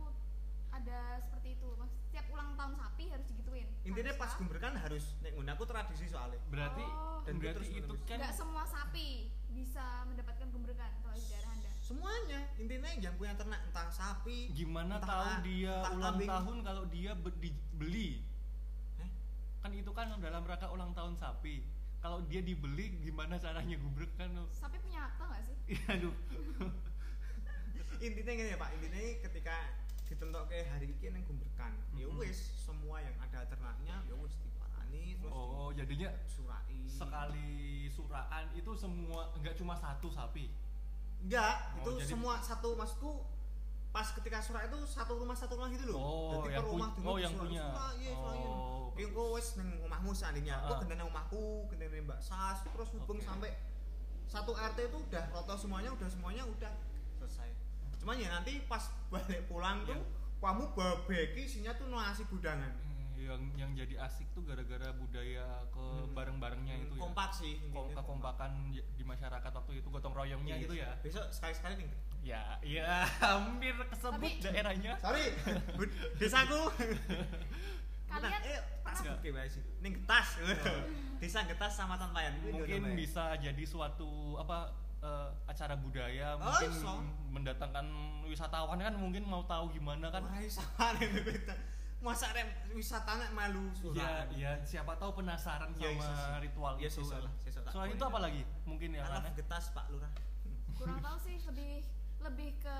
D: ada seperti itu mas tiap ulang tahun sapi harus digituin
E: intinya
D: Harus
E: pas
D: kah?
E: gembrakan harus nek ngono aku tradisi soalnya
B: berarti
D: Oh.
E: Dan gue
B: berarti
E: terus
B: itu
E: menerus.
B: kan
D: nggak semua sapi bisa mendapatkan gembergan kalau di daerah anda
E: semuanya intinya yang punya ternak entah sapi
B: gimana
E: entah
B: tahu
E: a-
B: dia
E: entah
B: ulang
E: kambing.
B: tahun kalau dia be- dibeli
E: Heh?
B: kan itu kan dalam rangka ulang tahun sapi kalau dia dibeli gimana caranya gubrek kan [laughs]
D: sapi punya akte nggak sih
B: Iya, aduh
E: intinya gini ya pak intinya ketika ditentok ke hari ini yang gumberkan ya
B: Mhm.
E: wis semua yang ada ternaknya ya wis diparani terus
B: oh jadinya
E: disurai
B: sekali suraan itu semua nggak cuma satu sapi
E: enggak
B: Oh,
E: itu
B: jadi-
E: semua satu maksudku pas ketika surat itu satu rumah satu rumah gitu loh
B: Oh,
E: Jadi
B: yang
E: per
B: pu-
E: rumah dulu
B: oh, yang
E: disurai,
B: punya.
E: surai, iya, surai.
B: Oh,
E: Ini kok wis neng omahmu seandainya
B: Ah,
E: kok
B: ah.
E: gendane omahku gendane mbak sas terus hubung
B: Oke.
E: sampai satu rt itu udah roto semuanya udah semuanya udah selesai cuman ya nanti pas balik pulang
B: Iya.
E: tuh kamu babeki isinya tuh nasi gudangan
B: Eh, yang yang jadi asik tuh gara-gara budaya ke
E: Hmm.
B: bareng-barengnya itu ya
E: kompak sih
B: Ko-
E: intinya.
B: kekompakan y- di masyarakat waktu itu gotong royongnya
E: Iya,
B: gitu ya
E: besok sekali sekali nih
B: ya ya [laughs] hampir kesebut
D: Tapi-
B: daerahnya
E: sorry bud- desaku
D: kalian
E: Bentar, eh, tas
B: pernah-
E: gede wae sih. Oh. Ning getas. Desa getas sama Tanpayan.
B: mungkin bisa jadi suatu apa eh, acara budaya
E: Oh,
B: mungkin
E: so.
B: mendatangkan wisatawan kan mungkin mau tahu gimana
E: kan
B: kan
E: [laughs] sama rem kita. Masa rem wisata nek malu
B: ya
E: surat.
B: ya siapa tahu
E: Ya,
B: penasaran sama
E: iya sih.
B: ritual
E: Ya,
B: itu
E: sesuk
B: kan.
E: lah, sesuk tak
B: selain
E: boleh.
B: itu apa lagi mungkin ya
E: Anak
B: kan
E: getas Pak Lurah.
D: kurang tahu sih lebih lebih ke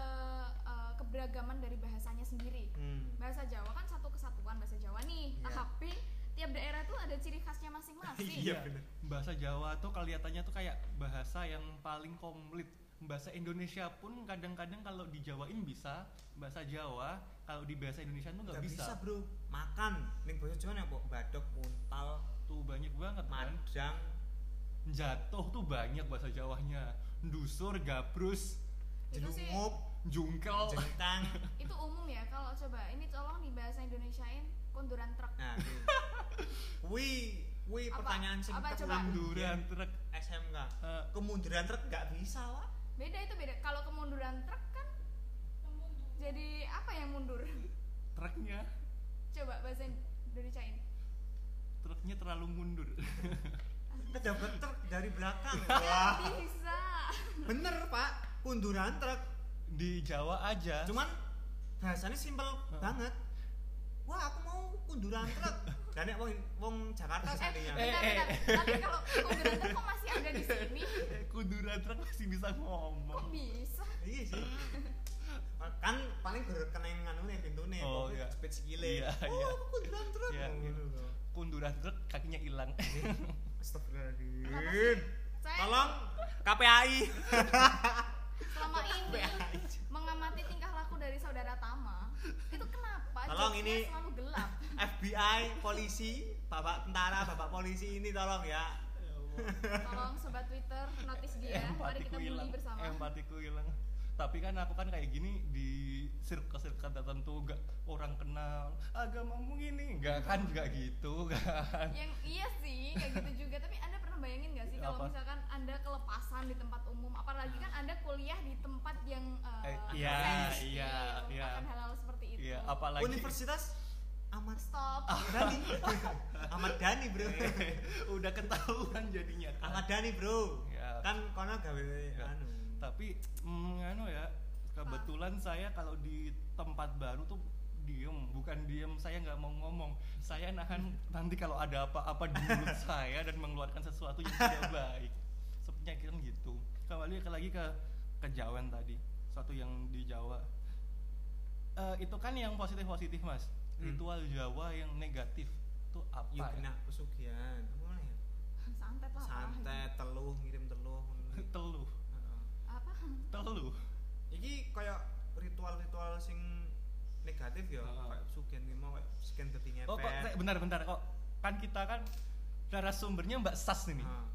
D: eh, keberagaman dari bahasanya sendiri
E: Hmm.
D: bahasa Jawa kan satu kesatuan bahasa Jawa nih
E: Iya.
D: tapi tiap daerah tuh ada ciri khasnya masing-masing
E: [laughs] Iya, bener.
B: bahasa Jawa tuh kelihatannya tuh kayak bahasa yang paling komplit bahasa Indonesia pun kadang-kadang kalau dijawain bisa bahasa Jawa kalau di bahasa Indonesia tuh nggak
E: Nggak
B: bisa.
E: bisa, Bro. Makan ning boyo Jawa apa badok, muntal,
B: tuh banyak banget kan
E: madang.
B: jatuh tuh banyak bahasa Jawanya dusur gabrus
D: itu sih
E: Jenguk,
B: jungkel
E: jentang.
D: itu umum ya kalau coba ini tolong di bahasa Indonesiain konduran truk
E: [laughs] Nah, kuwi. kuwi kuwi
D: Apa?
E: pertanyaan sing
D: Apa, coba?
E: terulang
B: duran truk
E: SMK.
B: eh,
E: Kemunduran truk nggak bisa, Pak.
D: beda itu beda kalau kemunduran truk kan jadi apa yang mundur [laughs]
B: truknya
D: coba bahasa Indonesiain
B: truknya terlalu mundur [laughs]
E: Kedapat truk dari belakang.
D: Nggak
E: Wah.
D: bisa
E: bener pak kunduran truk
B: di Jawa aja
E: cuman bahasanya simpel
B: Heeh.
E: banget wah aku mau kunduran truk dan nek wong wong Jakarta ya.
B: [laughs]
D: eh bentar,
E: seandainya
B: eh,
D: bentar.
B: eh.
D: tapi kalau konduran truk kok masih ada di sini
B: Eh, kuduran truk masih bisa
D: kok
B: ngomong
D: bisa
E: iya sih kan paling gur keneng anu nih pintune
B: Oh,
E: pokoknya
B: iya.
E: jepit sikile
B: Iya, iya.
E: oh aku kunduran truk
B: Iya,
E: Oh,
B: iya.
E: ngono lho.
B: kunduran truk kakinya hilang
D: Kenapa
E: Astagfirullahaladzim
D: sih? Saya
E: tolong KPAI
B: Iya.
D: selama ini mengamati tingkah laku dari saudara Tama itu kenapa
E: Tolong
D: jokesnya
E: ini-
D: selalu gelap
E: FBI polisi bapak tentara bapak polisi ini tolong ya
D: tolong sobat Twitter notice dia Iya, mari
B: empatiku
D: kita bully
B: hilang
D: bersama
B: empatiku hilang tapi kan aku kan kayak gini di circle-circle tertentu gak orang kenal agamamu ini gak kan gak gitu kan
D: yang iya sih kayak gitu juga tapi anda pernah bayangin nggak sih kalau
B: Apa?
D: misalkan anda kelepasan di tempat umum apalagi kan anda kuliah di tempat yang eh,
B: Eh,
D: sensitif
B: iya, iya, iya.
D: akan hal-hal seperti itu
B: Iya, Ah. apalagi
E: Universitas Ahmad
D: stop
B: [laughs]
E: Dhani Ahmad Dhani bro
B: udah ketahuan jadinya kan.
E: Ahmad Dhani bro
B: Ya.
E: kan kono gawe
B: Ya.
E: anu
B: tapi mm, anu ya kebetulan saya kalau di tempat baru tuh diem bukan diem saya nggak mau ngomong saya nahan nanti kalau ada apa-apa di
E: [laughs]
B: mulut saya dan mengeluarkan sesuatu yang tidak baik sepertinya kira gitu kembali ke- lagi ke kejawen tadi suatu yang di Jawa Eh, itu kan yang positif positif mas
E: Hmm.
B: ritual Jawa yang negatif itu apa
E: Yuk
B: ya?
E: kena pesugihan. Apa mana ya?
D: santet lah Pak.
E: Santet, teluh, ngirim teluh.
B: [laughs]
E: ngono.
B: [laughs] teluh
E: Heeh.
D: gitu. apa
B: teluh
E: Iki kayak ritual-ritual sing negatif ya,
B: Heeh.
E: kayak pesugihan iki mau kayak scan dadi ngepet.
B: oh kok saya- bentar bentar kok kan kita kan narasumbernya Mbak Sas nih
E: Heeh.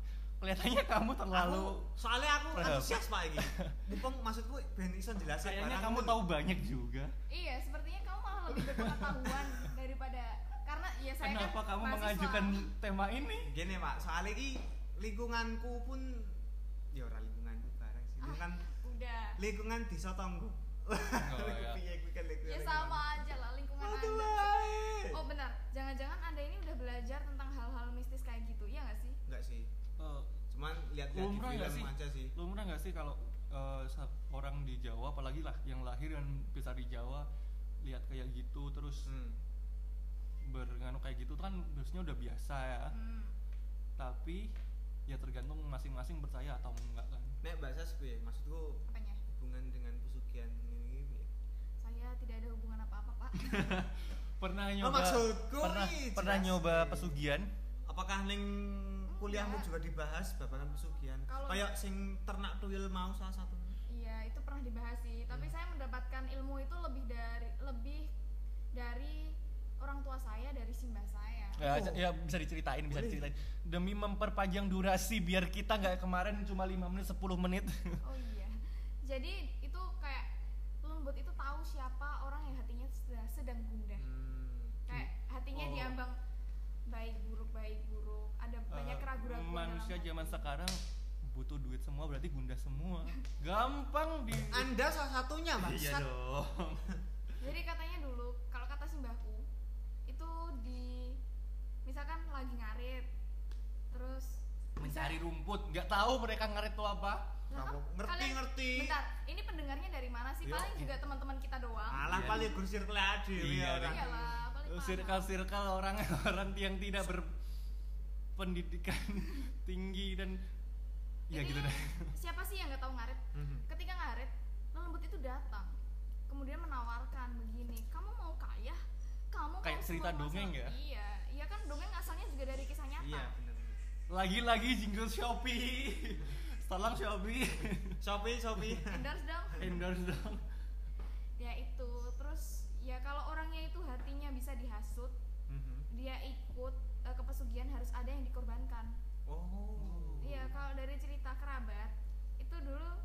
B: kelihatannya kamu terlalu
E: Aku- soalnya aku
B: Perhatian.
E: antusias Pak iki. Mumpung maksudku ben iso jelasin
B: kayaknya
E: barang
B: kamu
E: ngono.
B: tahu banyak juga
D: iya sepertinya kamu malah lebih berpengetahuan daripada karena ya saya
B: kenapa
D: kan
B: kamu
D: mahasiswa.
B: mengajukan tema ini
E: Gini Pak, soalnya iki lingkunganku pun ya ora lingkunganku bareng sih. Lingkungan
D: udah
E: lingkungan desa
B: Oh,
E: tonggo. [laughs]
B: ya.
E: Piye kuwi kan lingkungan-
D: ya sama aja lah lingkungan
E: Aduh,
D: anda
E: wae.
D: oh benar jangan-jangan anda ini udah belajar tentang hal-hal mistis kayak gitu ya nggak sih
E: Enggak sih.
B: Eh,
E: Cuman lihat-lihat di
B: Lumrah nggak
E: film
B: sih?
E: aja sih.
B: lumrah nggak sih kalau eh, sa- orang di Jawa apalagi lah yang lahir dan besar di Jawa lihat kayak gitu terus
E: Hmm.
B: bernganu kayak gitu tuh kan biasanya udah biasa ya
D: hmm.
B: tapi ya tergantung masing-masing percaya atau enggak kan
E: Nek Mbak Sas kuwi, maksudku
D: apanya
E: hubungan dengan pesugihan ini piye?
D: saya tidak ada hubungan apa-apa pak
B: pernah
E: Oh,
B: nyoba
E: maksudku
B: pernah
E: nih,
B: pernah
E: jelasin.
B: nyoba pesugihan
E: Apakah ning kuliahmu
D: Enggak.
E: juga dibahas babakan pesugihan?
D: Kalau-
E: Kayak sing ternak tuyul mau salah satu.
D: iya itu pernah dibahas sih tapi
E: Hmm.
D: saya mendapatkan ilmu itu lebih dari lebih dari orang tua saya dari simbah
B: [laughs]
D: saya
B: Ya,
E: Oh.
B: ya bisa diceritain, bisa
E: Boleh.
B: diceritain. Demi memperpanjang durasi biar kita nggak kemarin cuma 5 menit, 10 menit.
D: Oh iya. Jadi itu kayak lembut itu tahu siapa orang yang hatinya sedang, sedang gundah.
E: Hmm.
D: Kayak hatinya
B: Oh.
D: diambang baik buruk baik buruk. Ada banyak
B: Eh,
D: keraguan
B: Manusia zaman sekarang butuh duit semua berarti gundah semua. Gampang di
D: Anu,
E: Anda salah satunya, Mbak
B: Iya
E: Sat.
B: dong.
D: Jadi katanya dulu kalau kata simbahku itu di misalkan lagi ngarit terus
B: Mencari rumput, nggak tahu mereka ngaret tuh apa.
D: Lah,
E: Kamu
D: kok
E: ngerti,
D: kalian-
E: ngerti.
D: Bentar, ini pendengarnya dari mana sih?
E: Iya.
D: Paling juga teman-teman kita doang.
E: Alah
B: Iya.
E: paling gur circle ade
B: Iya,
E: ya, orang.
D: Iyalah, paling paham.
B: Circle-circle [laughs] orang-orang yang tidak berpendidikan [laughs] tinggi dan ya
D: Ini
B: gitu deh.
D: [laughs]
B: Mm-hmm.
D: Siapa sih yang nggak tahu ngarit?
E: Mhm.
D: ketika ngaret lembut itu datang kemudian menawarkan begini kamu mau kaya kamu mau
B: Kayak cerita
D: semua
B: dongeng
D: masalah."
B: ya?
D: iya iya kan dongeng asalnya juga dari kisah nyata
E: Iya, bener.
B: Lagi-lagi jingle Shopee. Salam
D: [laughs]
B: Shopee.
E: Shopee, Shopee.
D: [laughs] endorse dong
B: Endorse dong.
D: ya itu terus ya kalau orangnya itu hatinya bisa dihasut
E: [laughs] Mhm.
D: dia ikut eh, ke pesugihan harus ada yang dikorbankan
E: Oh.
D: iya kalau dari cerita kerabat itu dulu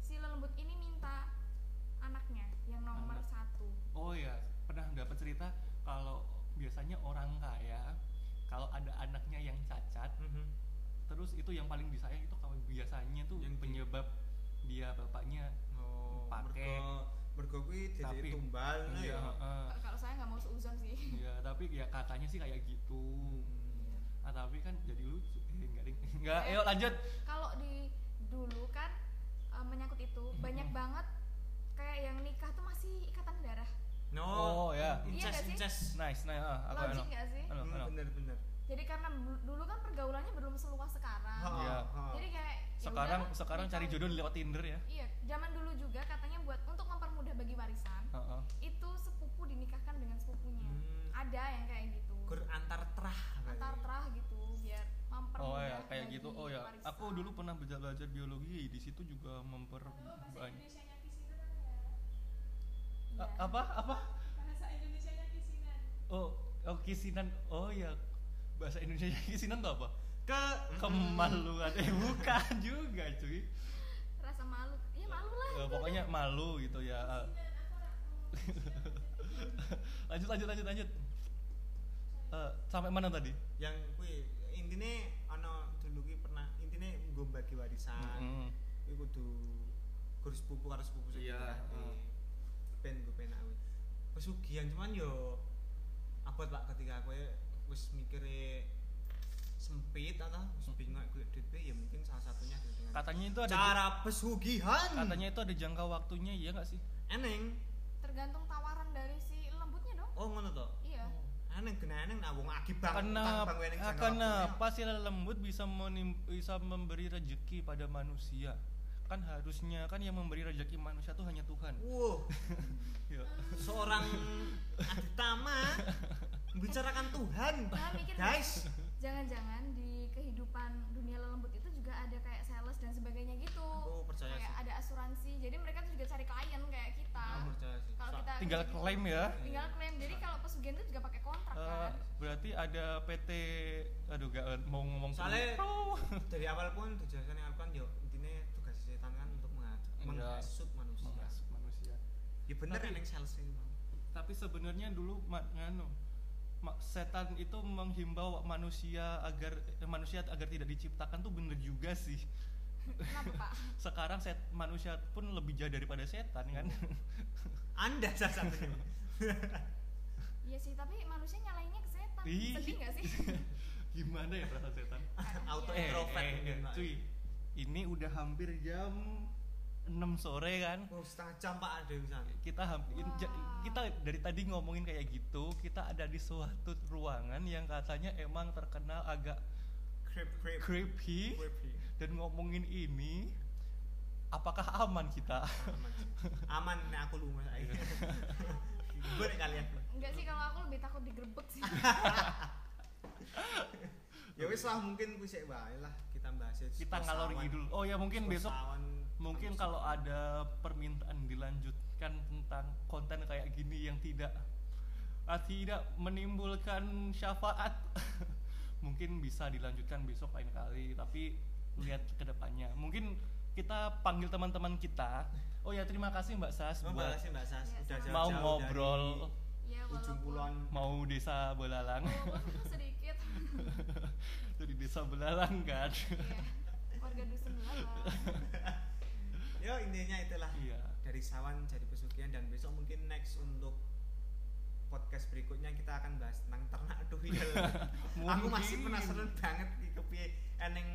D: si lembut ini minta anaknya yang nomor
B: Anak.
D: satu
B: Oh ya, pernah dapat cerita kalau biasanya orang kaya kalau ada anaknya yang cacat,
E: Mhm.
B: terus itu yang paling disayang itu kalau biasanya tuh yang
E: Yang di-
B: penyebab dia bapaknya
E: Oh,
B: Pakai.
E: mergo- mergo kuwi dadi
B: Tapi-
E: tumbal ngono
B: iya,
E: ya.
B: heeh.
D: Eh, kalau saya nggak mau seuzon sih
B: Iya, tapi ya katanya sih kayak gitu.
E: Hmm.
B: Ah, tapi kan jadi lucu. Eh, enggak, ding. [laughs] enggak. Ayo lanjut.
D: kalau di dulu kan eh, menyangkut itu
B: Mm-hmm.
D: banyak banget kayak yang nikah tuh masih ikatan darah
E: No.
B: Oh, ya.
D: Iya
E: Incest,
D: nggak sih?
E: incest.
B: Nice, nice. Ah, aku ano.
D: logik nggak sih
B: Ano, ano.
E: Hmm, bener bener.
D: jadi karena bu- dulu kan pergaulannya belum seluas
E: Ha,
D: sekarang
E: ha,
B: Iya.
E: ha.
D: jadi kayak ya
B: Sekarang
D: udahlah,
B: sekarang
D: nikah
B: cari
D: gitu.
B: jodoh lewat Tinder ya.
D: iya zaman dulu juga katanya buat untuk mempermudah bagi warisan
B: Heeh.
D: itu sepupu dinikahkan dengan sepupunya
E: Hmm.
D: ada yang kayak gitu
E: Gur antar terah.
D: antar terah gitu biar mempermudah
B: Oh ya, kayak
D: bagi
B: gitu. Oh ya,
D: warisan.
B: aku dulu pernah belajar belajar biologi di situ juga memperbanyak.
D: Iya.
B: A- apa apa oh oh kisinan oh ya bahasa Indonesia kisinan tuh apa
E: Ke
B: kemaluan eh bukan juga cuy
D: rasa malu ya malu lah
B: Eh, pokoknya malu gitu ya Eh, lanjut lanjut lanjut lanjut Eh, sampai mana tadi
E: yang kuwi intine ana dulu kuwi pernah intine nggo bagi
D: Ah.
E: warisan.
B: Mm-mm.
E: Kuwi kudu gur sepupu karo sepupu sing
B: Iya,
E: dinikahke.
B: heeh.
E: Ben gue penak kuwi. Pesugihan cuman yo abot Pak ketika kowe wis mikire sempit atau wis bingung kulit duit piye, ya mungkin salah satunya adalah dengan
B: Hmm. katanya itu ada
E: cara pesugihan.
B: katanya itu ada jangka waktunya iya nggak sih
E: eneng
D: tergantung tawaran dari si lembutnya
E: oh ngono to
D: iya
E: aneh kena aneh nah wong agi bang
B: Kenapa,
E: bang wening jangka
B: kenapa sirah lembut bisa menim- bisa memberi rejeki pada manusia? Kan harusnya kan yang memberi rejeki manusia tuh hanya Tuhan.
E: waktunya. wow
B: Ya. [laughs]
E: seorang aditama membicarakan Tuhan
D: Nah, mikir
E: guys
D: jangan-jangan di kehidupan dunia lelembut itu juga ada kayak sales dan sebagainya gitu
E: aku Oh, percaya
D: kayak
E: sih Nah,
D: ada asuransi jadi mereka tuh juga cari klien kayak kita
E: aku percaya sih
D: kalau
E: So-
D: kita
B: Tinggal klaim ya.
D: tinggal klaim jadi kalau pesugihan itu juga pakai kontrak
B: Eh,
D: kan
B: berarti ada PT aduh gak mau ngomong ke-
E: Soalnya-
B: Oh.
E: dari awal pun dijelaskan yang Al-Quran yo intinya tugas setan kan untuk mengaj-
B: Iya.
E: menghasut manusia
B: Mas, manusia.
E: ya bener
B: Tapi-
E: kan yang sales ini Bang.
B: Tapi sebenarnya dulu ma- nganu ma- setan itu menghimbau manusia agar eh, manusia agar tidak diciptakan tuh bener juga sih.
D: kenapa pak
B: Sekarang set, manusia pun lebih jahat daripada setan kan.
E: anda salah
B: [laughs]
E: satunya
D: iya sih tapi manusia nyalainnya ke setan
B: Ih.
D: sedih nggak sih
B: [laughs] Gimana ya perasaan setan?
E: [laughs] Auto
D: Iya.
E: introvert mungkin, Pak.
B: Eh, cuy. Ini udah hampir jam 6 sore kan.
E: oh setengah jam pak ada yang sana
B: kita hampir
D: Wah.
B: ja- kita dari tadi ngomongin kayak gitu kita ada di suatu ruangan yang katanya emang terkenal agak
E: creep creep
B: creepy
E: creepy
B: dan ngomongin ini apakah aman kita
E: aman aman nah, aku lu mas
B: Iya.
E: [laughs] ayo gue kalian
D: Enggak sih kalau aku lebih takut digerebek
E: [laughs]
D: sih
E: ya wis lah mungkin gue sih baik lah kita bahas ya
B: kita ngalor
E: dulu
B: ngidul oh ya mungkin besok mungkin kalau ada permintaan dilanjutkan tentang konten kayak gini yang tidak ah, tidak menimbulkan syafaat [laughs] mungkin bisa dilanjutkan besok lain kali tapi lihat ke depannya mungkin kita panggil teman-teman kita oh ya terima kasih mbak Sas
E: mau
B: buat
E: bahasnya mbak Sas
D: Iya,
E: udah
D: sama.
B: mau
E: jauh-jauh
B: ngobrol
D: ya
E: dari ujung
D: walaupun
E: pulauan
B: mau desa Belalang [laughs]
D: walaupun sedikit [laughs]
B: dari desa Belalang kan
D: Iya. warga dusun belakang
E: ya intinya itulah
B: iya
E: dari sawan jadi pesugihan dan besok mungkin next untuk podcast berikutnya kita akan bahas tentang ternak
B: [laughs]
E: duhil aku masih
B: Mungkin.
E: penasaran banget di kepiye eneng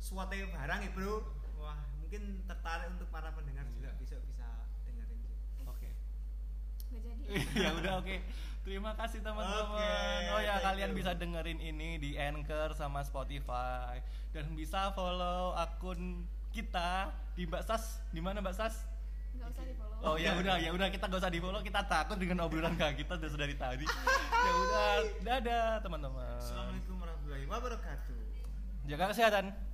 E: suate barang ya bro wah mungkin tertarik untuk para pendengar juga
B: Iya. Eh.
E: besok bisa dengerin
B: oke
D: nggak jadi
B: [laughs] ya udah oke terima kasih teman-teman
E: Oke,
B: oh ya
E: thank
B: kalian
E: you.
B: bisa dengerin ini di anchor sama spotify dan bisa follow akun kita di mbak sas di mana mbak sas
D: nggak usah di follow
B: oh ya udah ya udah kita gak usah di follow kita takut dengan obrolan kak kita udah dari
E: [laughs]
B: tadi ya udah dadah teman-teman
E: Assalamualaikum warahmatullahi wabarakatuh
B: jaga kesehatan